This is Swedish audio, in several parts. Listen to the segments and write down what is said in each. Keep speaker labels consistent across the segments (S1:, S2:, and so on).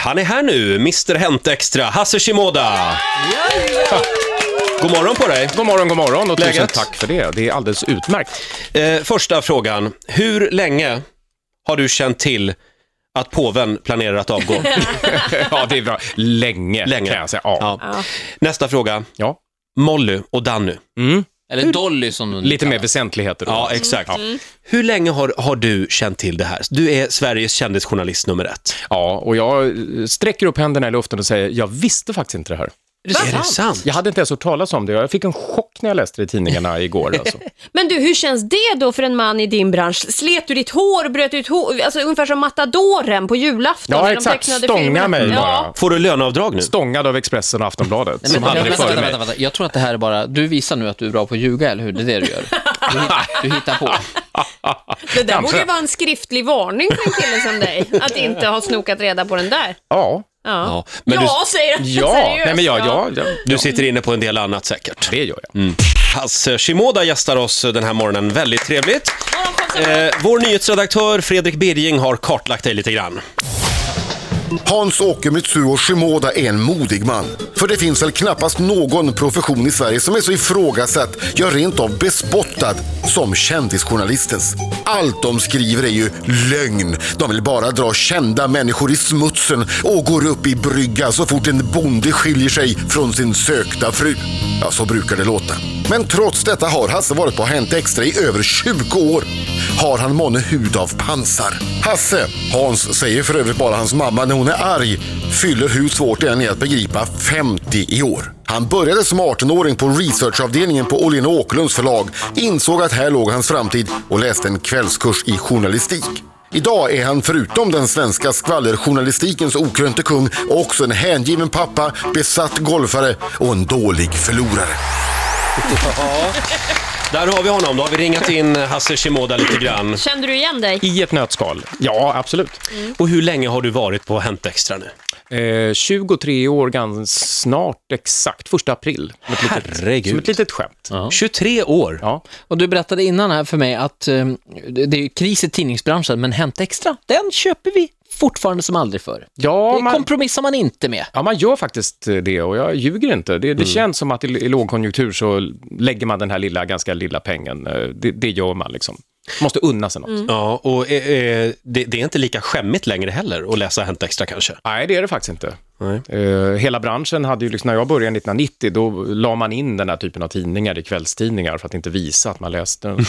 S1: Han är här nu, Mr Hänt Extra, Hasse Shimoda. God morgon på dig.
S2: God morgon, god morgon och tusen
S1: Läget?
S2: tack för det. Det är alldeles utmärkt.
S1: Eh, första frågan. Hur länge har du känt till att påven planerar att avgå?
S2: ja, det är bra. Länge,
S1: Länge.
S2: kan jag säga. Ja.
S1: Ja. Nästa fråga.
S2: Ja.
S1: Molly och Danny.
S3: Eller Dolly som de nu
S2: Lite mer
S3: kallar.
S2: väsentligheter. då.
S1: Ja, exakt. Hur länge har, har du känt till det här? Du är Sveriges kändisjournalist nummer ett.
S2: ja, och jag eh, sträcker upp händerna i luften och säger, jag visste faktiskt inte det här.
S1: Är det sant?
S2: Jag hade inte ens hört talas om det. Jag fick en chock när jag läste det i tidningarna igår. Alltså.
S4: Men du, hur känns det då för en man i din bransch? Slet du ditt hår, bröt ut hår, alltså ungefär som matadoren på julafton
S2: Ja,
S4: när
S2: exakt.
S4: de tecknade
S2: Stånga
S4: filmerna.
S2: mig bara.
S4: Ja.
S1: Får du löneavdrag nu?
S2: Stångad av Expressen och Aftonbladet,
S3: Nej,
S2: som
S3: men,
S2: aldrig
S3: vänta,
S2: före
S3: vänta,
S2: mig.
S3: vänta, vänta. Jag tror att det här är bara, du visar nu att du är bra på att ljuga, eller hur? Det är det du gör. Du, hit- du hittar på.
S4: Det där
S2: Kanske.
S4: borde ju vara en skriftlig varning för en kille som dig, att inte ha snokat reda på den där.
S2: Ja.
S4: Ja,
S1: Ja, men du-
S4: ja säger han
S2: Ja,
S4: seriöst.
S2: nej men ja, ja, ja,
S1: Du sitter inne på en del annat säkert.
S2: det gör jag.
S1: Hasse Shimoda gästar oss den här morgonen. Väldigt trevligt.
S4: Morgonshowsreporter.
S1: Eh, vår nyhetsredaktör Fredrik Birging har kartlagt dig lite grann.
S5: Hans-Åke Mitsuo Shimoda är en modig man. För det finns väl knappast någon profession i Sverige som är så ifrågasatt, ja rent av bespottad, som kändisjournalistens. Allt de skriver är ju lögn. De vill bara dra kända människor i smutsen och går upp i brygga så fort en bonde skiljer sig från sin sökta fru. Ja, så brukar det låta. Men trots detta har Hasse varit på Hänt Extra i över 20 år har han månne hud av pansar. Hasse, Hans säger för övrigt bara hans mamma när hon är arg, fyller hur svårt det än är att begripa 50 i år. Han började som 18-åring på researchavdelningen på Åhlén och Åkerlunds förlag, insåg att här låg hans framtid och läste en kvällskurs i journalistik. Idag är han förutom den svenska skvallerjournalistikens okrönte kung också en hängiven pappa, besatt golfare och en dålig förlorare.
S1: Där har vi honom. Då har vi ringat in Hasse Shimoda lite grann.
S4: Kände du igen dig?
S2: I ett nötskal. Ja, absolut.
S1: Och hur länge har du varit på Hänt Extra nu?
S2: Eh, 23 år ganska snart exakt, första april. Som ett litet,
S1: Herregud.
S2: som ett litet skämt.
S1: 23 år.
S2: Ja.
S3: Och du berättade innan här för mig att eh, det det är ju kris i tidningsbranschen, men Hänt Extra, den köper vi fortfarande som aldrig förr.
S2: Ja,
S3: Det
S2: man,
S3: kompromissar man inte med.
S2: ja, man gör faktiskt eh, det och jag ljuger inte. Det, det
S1: Mm.
S2: känns som att i, i lågkonjunktur så lägger man den här lilla, ganska lilla pengen. Eh, Det, det gör man liksom. Måste unna sig något.
S1: Ja, och eh, eh, det, det är inte lika skämmigt längre heller att läsa Hänt Extra kanske.
S2: Nej, det är det faktiskt inte.
S1: Nej.
S2: Eh, hela branschen hade ju, liksom, när jag började 1990, då la man in den här typen av tidningar i kvällstidningar för att inte visa att man läste den.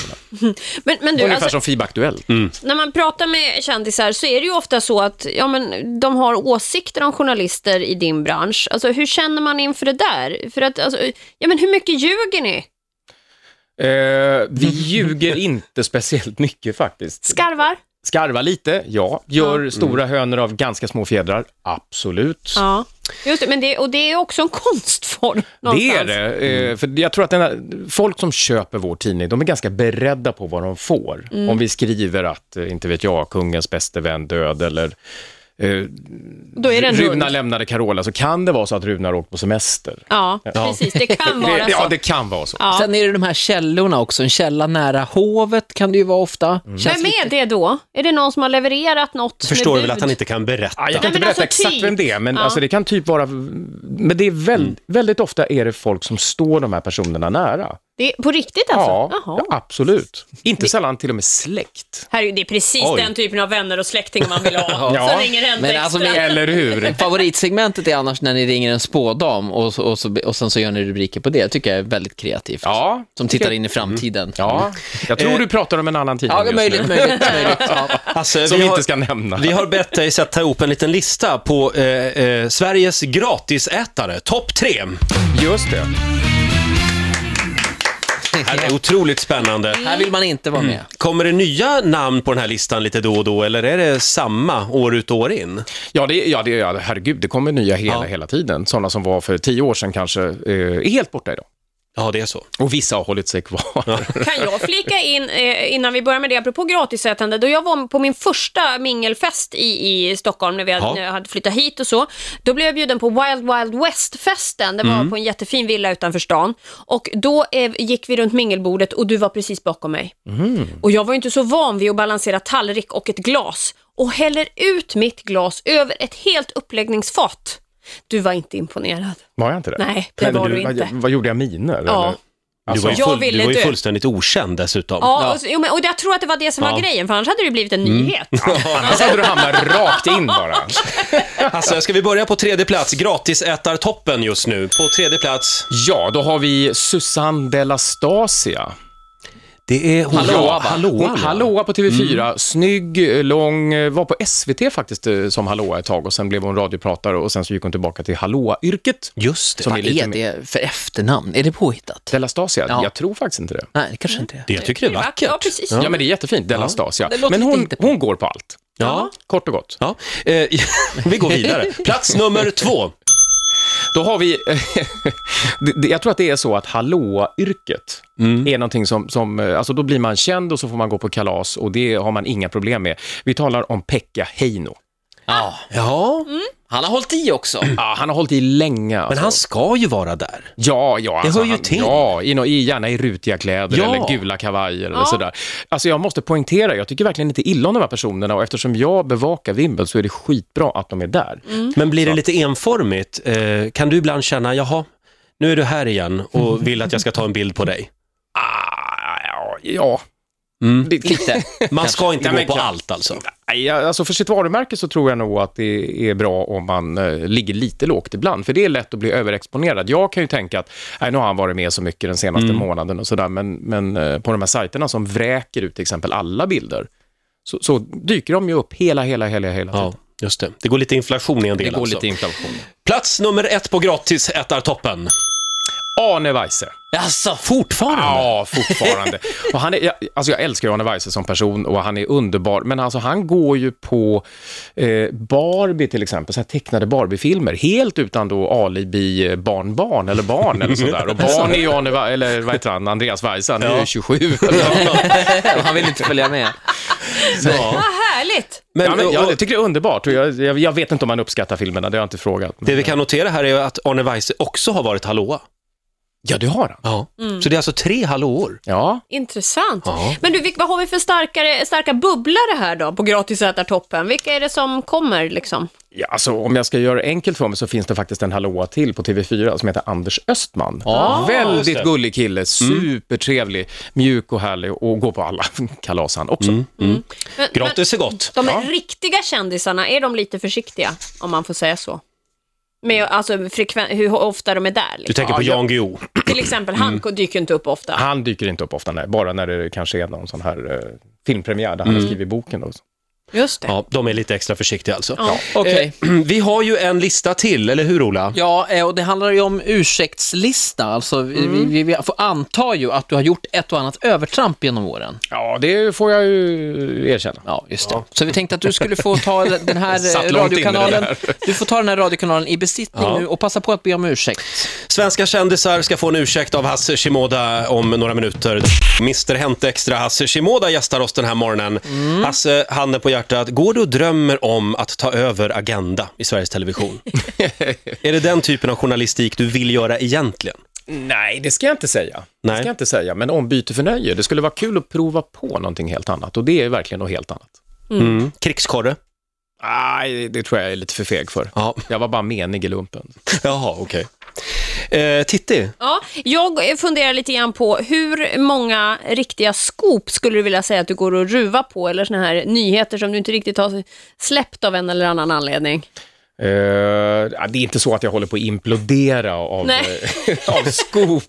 S4: Men, men du,
S2: Ungefär
S4: alltså,
S2: som FIB Aktuellt.
S4: när man pratar med kändisar så är det ju ofta så att ja, men, de har åsikter om journalister i din bransch. Alltså, hur känner man inför det där? För att, alltså, ja, men hur mycket ljuger ni?
S2: Eh, vi ljuger inte speciellt mycket faktiskt.
S4: Skarvar?
S2: Skarva lite, ja. Gör
S4: Mm.
S2: stora hönor av ganska små fjädrar, absolut.
S4: Ja, just det, men det, och det är också en konstform
S2: Det
S4: någonstans.
S2: är det. Eh, För jag tror att den här, folk som köper vår tidning, de är ganska beredda på vad de får.
S4: Mm.
S2: Om vi skriver att, eh, inte vet jag, kungens bäste vän död eller eh,
S4: Då är det en hund.
S2: Runa lämnade Carola, så kan det vara så att Runa har åkt på semester.
S4: Ja, precis. Det kan vara
S2: Det,
S4: så.
S2: ja, det kan vara så.
S4: Ja.
S3: Sen är det de här källorna också. En källa nära hovet kan det ju vara ofta.
S2: Mm.
S3: Känns
S4: Vem är det då? Är det någon som har levererat något
S1: Jag förstår
S4: med
S1: väl
S4: bud?
S1: att han inte kan berätta.
S2: Ja, jag
S4: Nej,
S2: kan inte
S4: men
S2: berätta
S4: alltså
S2: exakt
S4: typ.
S2: vem det är, men
S4: Ja.
S2: alltså, det kan typ vara... Men det är väl, väldigt ofta är det folk som står de här personerna nära.
S4: Det är på riktigt alltså?
S2: Ja,
S4: Jaha.
S2: ja, absolut. Inte sällan till och med släkt.
S4: Herregud, det är precis
S1: Oj.
S4: den typen av vänner och släktingar man vill ha.
S2: Ja.
S4: Så ringer Hänt
S3: Men
S4: Extra.
S3: alltså, vi-
S2: Eller hur?
S3: Favoritsegmentet är annars när ni ringer en spådam och, så- och, så, och sen så gör ni rubriker på det. Det tycker jag är väldigt kreativt.
S2: Ja. Mm.
S3: Som tittar in i framtiden.
S2: Ja, jag tror du pratar om en annan tidning
S3: Ja,
S2: just
S3: möjligt,
S2: nu.
S3: möjligt, möjligt. Ja.
S1: Hasse,
S2: Som vi
S1: har-
S2: inte ska nämna.
S1: Vi har bett dig sätta ihop en liten lista på eh, eh, Sveriges gratisätare, topp tre.
S2: Just det.
S1: Det här är otroligt spännande.
S3: Här vill man inte vara med.
S1: Kommer det nya namn på den här listan lite då och då, eller är det samma år ut och år in?
S2: Ja, det, ja, det, ja herregud, det kommer nya hela,
S1: Ja.
S2: hela tiden. Sådana som var för tio år sedan kanske eh, är helt borta idag.
S1: Ja, det är så.
S2: Och vissa har hållit sig kvar.
S4: Kan jag flika in, eh, innan vi börjar med det, apropå gratisätande, då jag var på min första mingelfest i, i Stockholm, när vi hade,
S1: Ja.
S4: när jag hade flyttat hit och så, då blev jag bjuden på Wild Wild West-festen, det var
S1: Mm.
S4: på en jättefin villa utanför stan, och då eh, gick vi runt
S1: Mm.
S4: mingelbordet och du var precis bakom mig. Och jag var ju inte så van vid att balansera tallrik och ett glas, och häller ut mitt glas över ett helt uppläggningsfat. Du var inte imponerad.
S2: Var jag inte det?
S4: Nej, det
S2: men
S4: var du
S2: vad-
S4: inte.
S2: Vad gjorde jag miner?
S4: Ja.
S2: eller?
S1: Du
S2: Alltså,
S1: var ju,
S4: Jag
S1: full,
S4: ville
S1: du var ju
S4: dö.
S1: fullständigt okänd dessutom.
S4: Ja, och, så- jo, men, och jag tror att det var det som
S1: Ja. Mm.
S4: var grejen, för annars hade det blivit en nyhet.
S2: Annars hade du hamnat rakt in bara.
S1: Alltså, ska vi börja på tredje plats? Gratisätartoppen just nu. På tredje plats.
S2: Ja, då har vi Susanne Delastasia.
S1: Det är hon.
S2: Hallåa, va?
S1: Hallåa,
S2: Hon- Hallåa på TV4. Snygg, lång, eh, var på SVT faktiskt eh, som Hallåa ett tag och sen blev hon radiopratare och sen så gick hon tillbaka till Hallåa-yrket.
S1: Just det.
S2: Som
S1: Som
S2: är
S3: Vad
S2: lite
S3: är det för efternamn? Är det påhittat?
S2: Delastasia,
S3: Ja.
S2: jag tror faktiskt inte det.
S3: Nej, det kanske inte är.
S1: det jag tycker det är vackert.
S4: Ja, precis.
S2: Ja, men det är jättefint, Delastasia.
S3: Det låter
S2: Men hon,
S3: lite på-
S2: hon går på allt.
S1: Ja.
S2: Kort och gott.
S1: Ja. Eh, vi går vidare. Plats nummer två.
S2: Då har vi... det- det- jag tror att det är så att hallåa-yrket är någonting som... som eh, alltså då blir man känd och så får man gå på kalas och det har man inga problem med. Vi talar om Pekka Heino.
S3: Ja.
S1: Ja,
S3: Han har hållit i också.
S2: Ja, han har hållit i länge. Alltså.
S1: men han ska ju vara där.
S2: Ja, ja.
S1: hör ju
S2: han,
S1: till.
S2: Ja, i, nå- i, gärna i rutiga kläder
S1: Ja.
S2: eller gula kavajer eller sådär. Alltså jag måste poängtera, jag tycker verkligen inte illa om de här personerna och eftersom jag bevakar Wimbledon så är det skitbra att de är där.
S4: Mm.
S1: Men blir det lite enformigt? Eh, kan du ibland känna, jaha, nu är du här igen och vill att jag ska ta en bild på dig?
S2: Ah, ja, ja.
S1: Mm.
S2: Det,
S3: Lite.
S1: Man ska inte
S2: Nej, men
S1: gå på
S2: kan-
S1: allt alltså.
S2: Nej, ja, alltså för sitt varumärke så tror jag nog att det är bra om man eh, ligger lite lågt ibland, för det är lätt att bli överexponerad. Jag kan ju tänka att nej, nu har han varit med så mycket den senaste månaden och sådär, men, men eh, på de här sajterna som vräker ut till exempel alla bilder, så, så dyker de ju upp hela, hela, hela, hela tiden.
S1: Ja, just det. Det går lite inflation i en del
S2: Det går
S1: alltså.
S2: lite inflation.
S1: Plats nummer ett på gratisätartoppen.
S2: Arne Weise.
S3: Alltså, fortfarande?
S2: Ja, fortfarande. och han är, jag, alltså jag älskar ju Arne Weise som person och han är underbar. Men alltså han går ju på eh, Barbie till exempel, så här tecknade Barbie-filmer. Helt utan då alibi eh, barnbarn eller barn eller sådär. Och barn är ju Arne, Wa- eller vad heter han, Andreas Weise, han är ju 27.
S3: Han vill inte följa med.
S1: Ja.
S4: Vad härligt!
S1: Men,
S2: ja, men
S1: och-
S2: jag, jag tycker det är underbart och jag, jag, jag vet inte om han uppskattar filmerna, det har jag inte frågat. Men,
S1: Det vi kan notera här är att Arne Weise också har varit hallåa.
S2: ja, det har han.
S1: Ja. Så det är alltså tre hallåor.
S2: Ja.
S4: Intressant.
S1: Ja.
S4: Men du, vilk- vad har vi för starkare, starka bubblare här då på gratisätartoppen? Vilka är det som kommer liksom?
S2: Ja, alltså, om jag ska göra det enkelt för mig så finns det faktiskt en hallåa till på TV4 som heter Anders Östman.
S1: just
S2: Väldigt
S1: det. Mm.
S2: gullig kille, supertrevlig, mjuk och härlig och går på alla kalas han också.
S1: Mm.
S4: Men,
S1: Gratis är gott.
S4: men, de riktiga kändisarna, är de lite försiktiga, om man får säga så? Med alltså, frekven- hur ofta de är där.
S1: Du
S4: Liksom.
S1: tänker på
S2: Ja,
S1: Jan Guillou.
S4: Till exempel, han dyker ju inte upp ofta.
S2: Han dyker inte upp ofta, nej, bara när det kanske är någon sån här eh, filmpremiär där han
S1: Mm.
S2: har skrivit boken. Då.
S4: Just det.
S1: Ja, de är lite extra försiktiga alltså.
S4: Ja.
S3: Okej.
S1: Eh, vi har ju en lista till, eller hur Ola?
S3: Ja, eh, och det handlar ju om ursäktslista. Alltså, vi, vi, vi får anta ju att du har gjort ett och annat övertramp genom åren.
S2: Ja, det får jag ju erkänna.
S3: Ja, just det. Så vi tänkte att du skulle få ta den här
S2: Satt
S3: eh,
S2: långt inne
S3: radiokanalen.
S2: det
S3: Du får ta den här radiokanalen i besittning nu och passa på att be om ursäkt.
S1: Svenska kändisar ska få en ursäkt av Hasse Shimoda om några minuter. Mr Hänt Extra Hasse Shimoda gästar oss den här morgonen. Hasse, handen på hjärtat, går du och drömmer om att ta över Agenda i Sveriges Television? är det den typen av journalistik du vill göra egentligen?
S2: Nej, det ska jag inte säga.
S1: Nej.
S2: Det ska jag inte säga, men ombyte för nöje. Det skulle vara kul att prova på någonting helt annat och det är verkligen något helt annat.
S1: Mm. Krigskorre?
S2: Nej, det tror jag är lite för feg för.
S1: Ja.
S2: Jag var bara menig i lumpen.
S1: Jaha, okej. Eh, Titti,
S4: Ja, jag funderar lite grann på hur många riktiga skop skulle du vilja säga att du går och ruvar på eller såna här nyheter som du inte riktigt har släppt av en eller annan anledning?
S2: Eh, ja, det är inte så att jag håller på att implodera av,
S4: Nej.
S2: av skop.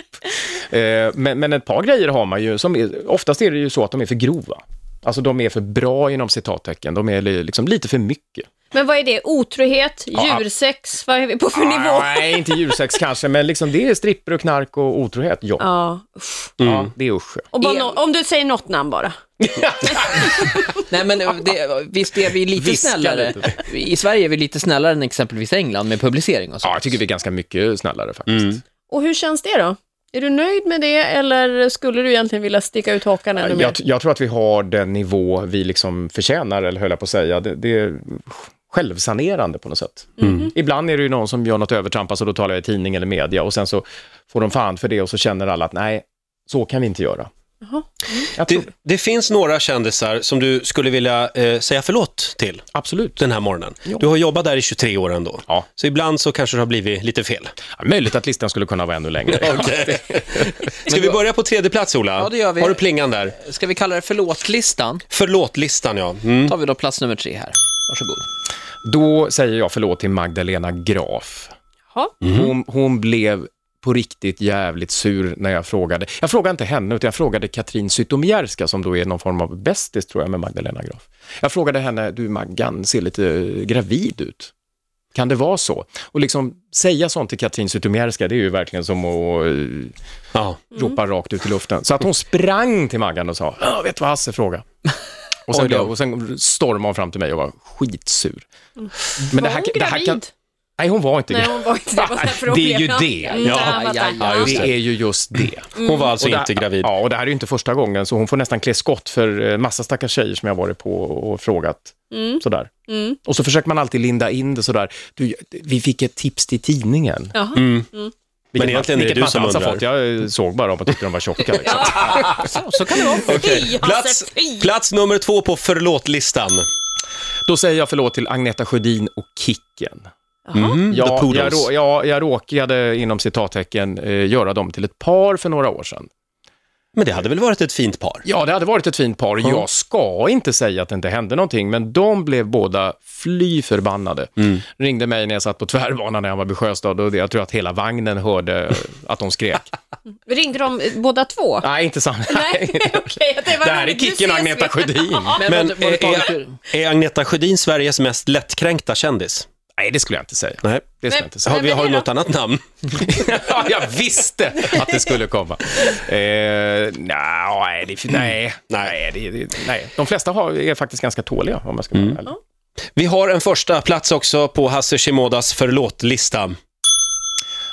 S2: Eh, men, men ett par grejer har man ju. Som är, oftast är det ju så att de är för grova. Alltså de är för bra inom citattecken. De är li- liksom lite för mycket.
S4: Men vad är det? Otrohet? Djursex? Vad är vi på för nivå?
S2: Nej, inte djursex kanske, men liksom det är stripper och knark och otrohet. Ja,
S4: Ja, usch.
S2: ja det är usch.
S4: Och bara nå- om du säger något namn bara.
S3: Nej, men eh, det, visst är vi lite
S2: Viska
S3: snällare. I Sverige är vi lite snällare än exempelvis England med publicering och så.
S2: Ja, jag tycker vi är ganska mycket snällare faktiskt.
S4: Och hur känns det då? Är du nöjd med det eller skulle du egentligen vilja sticka ut hakan ännu mer?
S2: Jag, jag tror att vi har den nivå vi liksom förtjänar, eller höll jag på att säga. Det, det är självsanerande på något sätt.
S4: Mm.
S1: Mm-hmm.
S2: Ibland är det ju någon som gör något övertramp, alltså då talar jag i tidning eller media, och sen så får de fan för det och så känner alla att nej, så kan vi inte göra.
S4: Jaha. Mm.
S2: Jag tror
S1: Det,
S2: det.
S1: det finns några kändisar som du skulle vilja eh, säga förlåt till
S2: Absolut.
S1: den här morgonen. Du har jobbat där i 23 år ändå.
S2: Ja.
S1: Så ibland så kanske det har blivit lite fel.
S2: Ja, Möjligt att listan skulle kunna vara ännu längre.
S1: Okej. Ska vi börja på tredje plats, Ola?
S3: Ja, det gör vi.
S1: Har du plingan där?
S3: Ska vi kalla det förlåtlistan?
S1: Förlåt-listan, ja. Mm.
S3: Tar vi då plats nummer tre här. Varsågod.
S2: Då säger jag förlåt till Magdalena Graf.
S4: Jaha.
S2: Hon, hon blev på riktigt jävligt sur när jag frågade. Jag frågade inte henne, utan jag frågade Katrin Zytomierska som då är någon form av bästis tror jag med Magdalena Graf. Jag frågade henne, du Maggan, ser lite eh, gravid ut. Kan det vara så? Och liksom säga sånt till Katrin Zytomierska, det är ju verkligen som att
S4: Mm.
S2: eh,
S1: Ja.
S2: ropa rakt ut i luften. Så att hon sprang till Maggan och sa, "Ja, vet du vad Hasse frågade? Och sen,
S1: Oj då.
S2: blev, och sen stormade hon fram till mig och var skitsur. Men
S4: Mm. Var hon gravid?
S2: Nej, hon var inte
S4: Nej,
S2: gravid.
S4: hon var inte det. Var så här
S2: Det är ju
S4: problem.
S2: det.
S4: Mm,
S1: Ja.
S4: där var
S3: Ja, ja,
S4: det.
S1: ja, just
S2: Det är ju just det.
S1: Hon var alltså
S2: Mm. Och det-
S1: inte gravid.
S2: Ja, och det här är ju inte första gången, så hon får nästan klä skott för eh, massa stackars tjejer som jag varit på och frågat.
S1: Mm.
S2: Sådär. Och så försöker man alltid linda in det sådär. Du, vi fick ett tips till tidningen. Mm.
S4: Jaha.
S2: Vilket man-
S1: Mm. egentligen är det
S2: vilket
S1: du
S2: man inte
S1: som
S2: alls har
S1: undrar.
S2: Fått. Jag eh, såg bara dem och tyckte de var tjocka. Liksom.
S3: Så, så kan det vara.
S1: Okej.
S4: Fy, Hasse,
S1: Plats,
S4: fy.
S1: plats nummer två på förlåt-listan.
S2: Då säger jag förlåt till Agneta Sjödin och Kicken.
S1: Mm. The
S2: Ja, jag,
S1: Poodles.
S2: rå, ja, jag råkade inom citattecken eh, göra dem till ett par för några år sedan.
S1: Men det hade väl varit ett fint par?
S2: Ja, det hade varit ett fint par. Jag ska inte säga att det inte hände någonting, men de blev båda fly förbannade. Ringde mig när jag satt på tvärbanan i Hammarby Sjöstad och jag tror att hela vagnen hörde att de skrek.
S4: Ringde de eh, båda två?
S2: Nej, inte sant.
S4: Nej, okej. Okay,
S2: Det här är Kicken och Agneta Sjödin.
S3: Men,
S1: Men eh,
S3: var, var
S1: är,
S3: det taget
S1: är,
S3: ur?
S1: är Agneta Sjödin Sveriges mest lättkränkta kändis?
S2: Nej, det skulle jag inte säga.
S1: Nej.
S2: Det skulle
S4: Men-
S2: jag inte säga.
S1: Har, vi,
S4: men
S1: har du
S4: det då?
S1: något annat namn?
S2: Ja, jag visste att det skulle komma. Eh, nej, det, nej, nej, det, det, nej. De flesta har, är faktiskt ganska tåliga, om man ska vara ärlig.
S1: Vi har en första plats också på Hasse Shimodas förlåt-lista.
S3: Mm.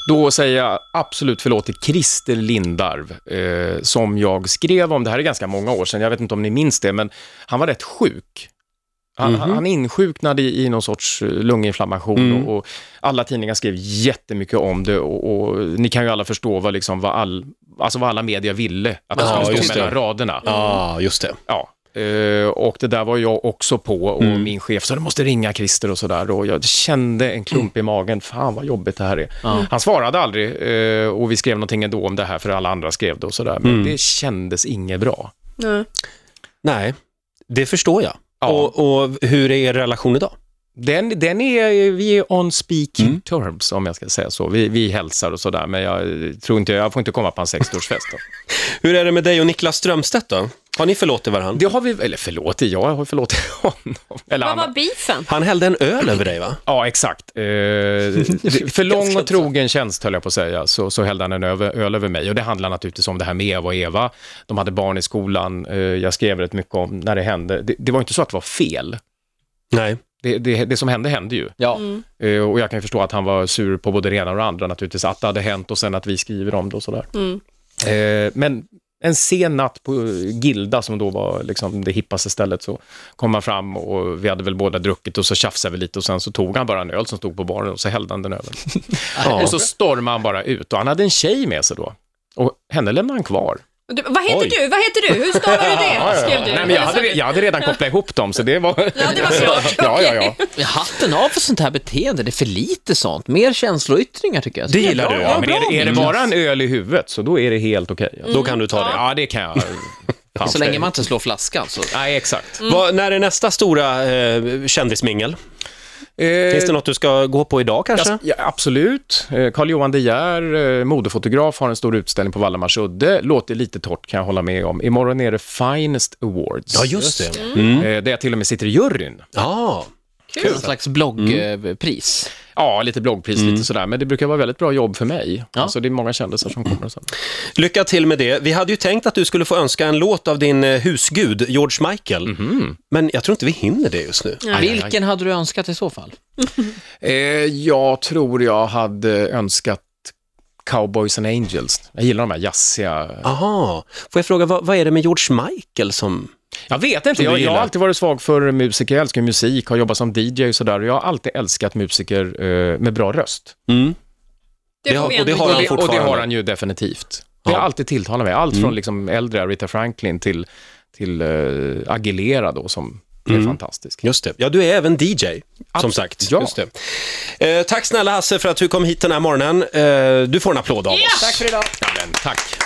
S2: Då säger jag absolut förlåt till Christer Lindarv, eh, som jag skrev om. Det här är ganska många år sedan, jag vet inte om ni minns det, men han var rätt sjuk. Han,
S1: Mhm.
S2: han- han insjuknade i, i någon sorts eh, lunginflammation
S1: Mm.
S2: och, och alla tidningar skrev jättemycket om det och, och ni kan ju alla förstå vad, liksom, vad, all, alltså vad alla media ville att
S1: Ja,
S2: det skulle
S1: just
S2: stå mellan
S1: det.
S2: raderna.
S1: Ja, ah, just det.
S2: Ja. eh, Och det där var jag också på och
S4: Mm.
S2: min chef sa du måste ringa Christer och sådär. Och jag kände en klump i magen, fan vad jobbigt det här är. Han svarade aldrig eh, och vi skrev någonting ändå om det här för alla andra skrev det och sådär. Men
S4: Mm.
S2: det kändes inget bra.
S1: Nej, det förstår jag.
S2: Ja.
S1: Och, och hur är er relation idag?
S2: Den, den är, vi är on speaking
S4: Mm.
S2: terms om jag ska säga så. Vi, vi hälsar och sådär men jag eh, tror inte, jag får inte komma på hans 60-årsfest. då.
S1: Hur är det med dig och Niklas Strömstedt då? Har ni förlåtit varandra?
S2: Det har vi, eller förlåt, jag har förlåtit honom. Eller
S4: Vad
S2: han-
S4: var beefen?
S1: Han hällde en öl över dig va?
S2: Ja, exakt. Eh, för lång och trogen tjänst, höll jag på att säga, så, så hällde han en över, öl över mig. Och det handlar naturligtvis om det här med Eva och Eva. De hade barn i skolan. Eh, jag skrev rätt mycket om när det hände. Det, det var inte så att det var fel.
S1: Nej.
S2: Det, det, det som hände hände ju.
S3: Ja.
S2: Eh, och jag kan ju förstå att han var sur på både det ena och det andra naturligtvis, att det hade hänt och sen att vi skriver om det och sådär. Eh, men en sen natt på eh, Gilda, som då var liksom det hippaste stället, så kom han fram och vi hade väl båda druckit och så tjafsade vi lite och sen så tog han bara en öl som stod på baren och så hällde han den över. ja. Och så stormade han bara ut och han hade en tjej med sig då. Och henne lämnade han kvar.
S4: Du, vad heter
S1: Oj.
S4: du? Vad heter du? Hur stavar du det? Skrev du.
S2: Nej, men jag, hade, jag hade redan kopplat ihop dem, så det var...
S4: Ja, det var klart.
S2: ja, ja, ja.
S3: Hatten av för sånt här beteende. Det är för lite sånt. Mer känsloyttringar tycker jag.
S1: Det gillar du
S2: Ja,
S1: ja.
S2: men är, det- är det bara en öl i huvudet, så då är det helt okej.
S1: Då kan du ta det.
S2: Mm, Ja, det kan jag. Fan,
S3: Så länge man inte slår flaskan så.
S2: Nej, exakt.
S1: Vad- när är nästa stora eh, kändismingel?
S2: Eh,
S1: Finns det något du ska gå på idag kanske?
S2: jag- ja, absolut. Eh, Carl Johan De Geer, eh, modefotograf, har en stor utställning på Valdemarsudde. Låter lite torrt kan jag hålla med om. Imorgon är det Finest Awards.
S1: Ja, just det.
S2: Eh, Där jag till och med sitter i juryn.
S1: Ja.
S3: Någon slags
S2: Mm.
S3: eh, bloggpris.
S2: Ja, lite bloggpris, lite sådär. Men det brukar vara väldigt bra jobb för mig. Alltså, det är många kändisar som kommer och så.
S1: Lycka till med det. Vi hade ju tänkt att du skulle få önska en låt av din eh, husgud, George Michael. Men jag tror inte vi hinner det just nu.
S3: Vilken hade du önskat i så fall?
S2: Eh, jag tror jag hade önskat Cowboys and Angels. Jag gillar de här jazziga
S1: Aha. Får jag fråga, vad, vad är det med George Michael som...
S2: Jag vet inte,
S1: du
S2: jag, jag har
S1: gillar.
S2: alltid varit svag för musiker, jag älskar musik, har jobbat som DJ och sådär. och Jag har alltid älskat musiker eh, med bra röst.
S4: Det får vi
S1: och det
S4: ändå
S1: har han
S4: ge.
S2: Och det
S1: fortfarande. Mm.
S2: har han ju definitivt. Det har alltid tilltalat mig. Allt från liksom äldre Rita Franklin till, till uh, Aguilera då, som
S1: Mm.
S2: är fantastisk.
S1: Just det. Ja, du är även DJ, som
S2: Absolut.
S1: sagt.
S2: Ja.
S1: Just det. Eh, tack snälla Hasse för att du kom hit den här morgonen. Eh, du får en applåd av oss.
S3: Tack för idag.
S2: Men tack.